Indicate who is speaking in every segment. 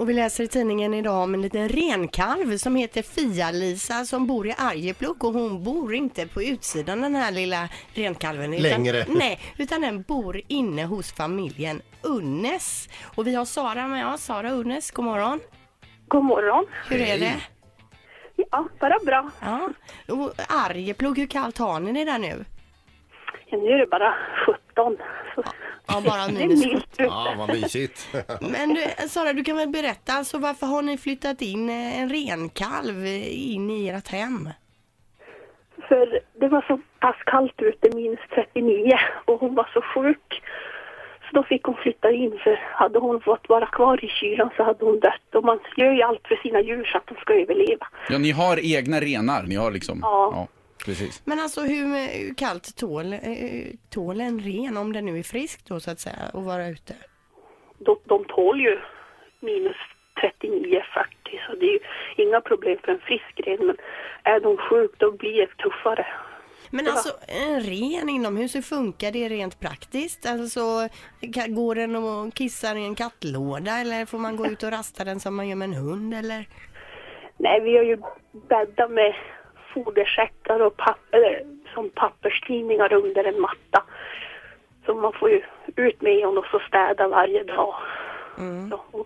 Speaker 1: Och vi läser i tidningen idag om en liten renkalv som heter Fia-Lisa som bor i Arjeplog och hon bor inte på utsidan den här lilla renkalven. Utan,
Speaker 2: Längre.
Speaker 1: Nej, utan den bor inne hos familjen Unnes. Och vi har Sara med oss. Sara Unnes, god morgon.
Speaker 3: God morgon.
Speaker 1: Hur är det?
Speaker 3: Ja, bara bra.
Speaker 1: Ja. Och Arjeplog, hur kallt har ni det där nu?
Speaker 3: Nu är det bara 17. Så
Speaker 1: Ja, bara
Speaker 3: det är
Speaker 1: minus.
Speaker 3: milt ute.
Speaker 2: Ja, vad mysigt.
Speaker 1: Men du, Sara, du kan väl berätta, alltså, varför har ni flyttat in eh, en renkalv eh, in i ert hem?
Speaker 3: För det var så pass kallt ute, minus 39, och hon var så sjuk. Så då fick hon flytta in, för hade hon fått vara kvar i kylan så hade hon dött. Och man gör ju allt för sina djur så att de ska överleva.
Speaker 4: Ja, ni har egna renar. Ni har liksom...
Speaker 3: Ja.
Speaker 4: precis.
Speaker 1: Men alltså hur, eh, hur kallt tål, eh, tål en ren, om den nu är frisk då så att säga, och vara ute?
Speaker 3: De, de tål ju minus 39, 40, så det är ju inga problem för en frisk ren. Men är de sjuk, då blir det tuffare.
Speaker 1: Men alltså en ren inomhus, hur funkar det rent praktiskt? Alltså ka- går den och kissar i en kattlåda eller får man gå ut och rasta den som man gör med en hund eller?
Speaker 3: Nej, vi har ju bäddat med fodersäckar och papper, som papperstidningar under en matta. Så man får ju ut med hon och så städa varje dag. Så, hon-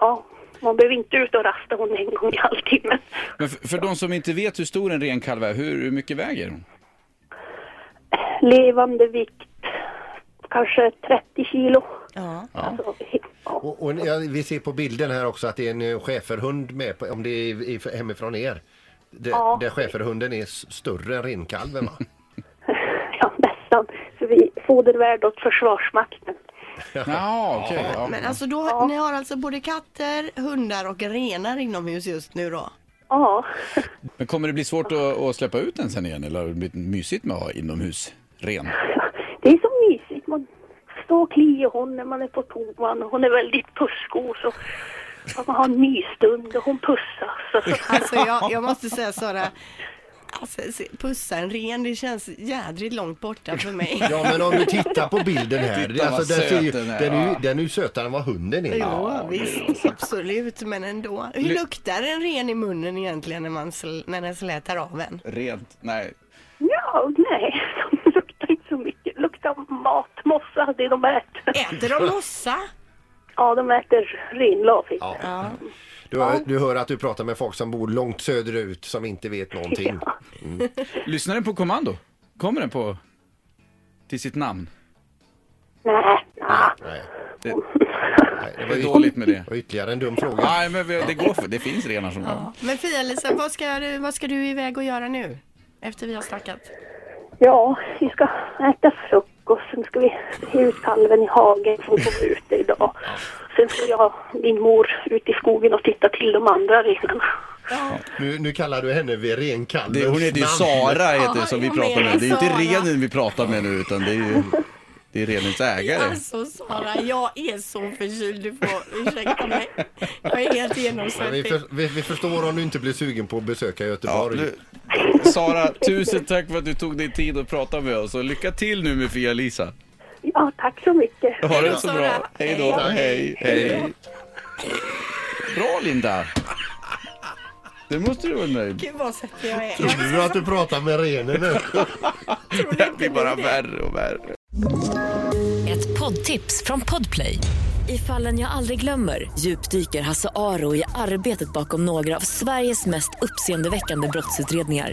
Speaker 3: ja, man behöver inte ut och rasta hon en gång i halvtimmen.
Speaker 4: Men för, för de som inte vet hur stor en renkalv är, hur, hur mycket väger hon?
Speaker 3: Levande vikt, kanske 30 kilo.
Speaker 1: Ja.
Speaker 3: Alltså, he- ja.
Speaker 2: Och, och ja, vi ser på bilden här också att det är en eh, schäferhund med, på, om det är i- i- hemifrån er. Där,
Speaker 3: Ja.
Speaker 2: där schäferhunden är s- större än renkalven va?
Speaker 3: ja, nästan. Så vi fodervärd åt Försvarsmakten.
Speaker 4: Ja, okej. ja.
Speaker 1: Men alltså då, ni har alltså både katter, hundar och renar inomhus just nu då?
Speaker 3: Ja,
Speaker 4: Men kommer det bli svårt att, att släppa ut den sen igen eller har det blivit mysigt med att ha inomhus ren?
Speaker 3: det är så mysigt. Man står och kliar hon när man är på toan och hon är väldigt pussgo så att man har en mysstund och hon pussas. Så,
Speaker 1: Alltså jag, jag måste säga Sara, alltså, se- pussa en ren det känns jädrigt långt borta för mig.
Speaker 2: Ja men om du tittar på bilden här. alltså,
Speaker 4: Titta vad
Speaker 2: den, ser ju,
Speaker 4: söt
Speaker 2: den,
Speaker 4: den är,
Speaker 2: är ju,
Speaker 4: ja.
Speaker 2: den är ju sötare än vad hunden är.
Speaker 1: Jo,
Speaker 2: Ja.
Speaker 1: visst, absolut, men ändå. Hur
Speaker 4: Ly-
Speaker 1: luktar en ren i munnen egentligen när, man sl- när den slätar av en?
Speaker 4: Rent? Nej.
Speaker 3: ja, nej, de luktar inte så mycket. Luktar matmossa, det de äter.
Speaker 1: Äter de mossa?
Speaker 3: Ja, de äter renlav. heter det.
Speaker 2: Ja. Du, hör- du hör att du pratar med folk som bor långt söderut som inte vet någonting.
Speaker 4: Lyssnar den på kommando? Kommer den på... Till sitt namn?
Speaker 3: Nej, nej.
Speaker 2: Nej.
Speaker 4: Det,
Speaker 2: Nej, det
Speaker 4: det
Speaker 2: var
Speaker 4: är
Speaker 2: ju-
Speaker 4: dåligt med det.
Speaker 2: det var ytterligare en dum fråga.
Speaker 4: Nej, men vi- det går för. Det finns renar som...
Speaker 1: Men Fia-Lisa, vad ska, du, vad ska du iväg och göra nu? Efter vi har snackat.
Speaker 3: Ja, vi ska äta frukost, sen ska vi se ut kalven i hagen som kommer ute idag. Sen ska jag och min mor ut i skogen och titta till de andra renarna.
Speaker 2: Nu, nu kallar du henne vid renkalvens
Speaker 4: Det, hon heter ju
Speaker 2: namn.
Speaker 4: Sara heter
Speaker 1: Ja,
Speaker 4: det som vi
Speaker 1: jag
Speaker 4: pratar
Speaker 1: menar
Speaker 4: med. Det är ju inte
Speaker 1: Sara.
Speaker 4: renen vi pratar med nu utan det är ju det är renens ägare.
Speaker 1: Alltså Sara, jag är så förkyld. Du får ursäkta mig. Jag är helt
Speaker 2: Ja, vi,
Speaker 1: genomsvettig.
Speaker 2: för, vi, vi förstår om du inte blir sugen på att besöka
Speaker 4: Ja,
Speaker 2: Göteborg.
Speaker 4: nu, Sara, tusen tack för att du tog dig tid att prata med oss och lycka till nu med Fia-Lisa.
Speaker 3: Ja, tack så mycket.
Speaker 4: Ha
Speaker 1: Hej då,
Speaker 4: det så
Speaker 1: Sara.
Speaker 4: bra. Hej då.
Speaker 1: Tack.
Speaker 4: Hej, hej. Bra Linda. Det måste du vara nöjd.
Speaker 1: Gud vad svettig jag är.
Speaker 2: Tror du att du pratar med renen nu?
Speaker 4: Det här blir bara värre och värre.
Speaker 5: Ett poddtips från Podplay. I fallen jag aldrig glömmer djupdyker Hasse Aro i arbetet bakom några av Sveriges mest uppseendeväckande brottsutredningar.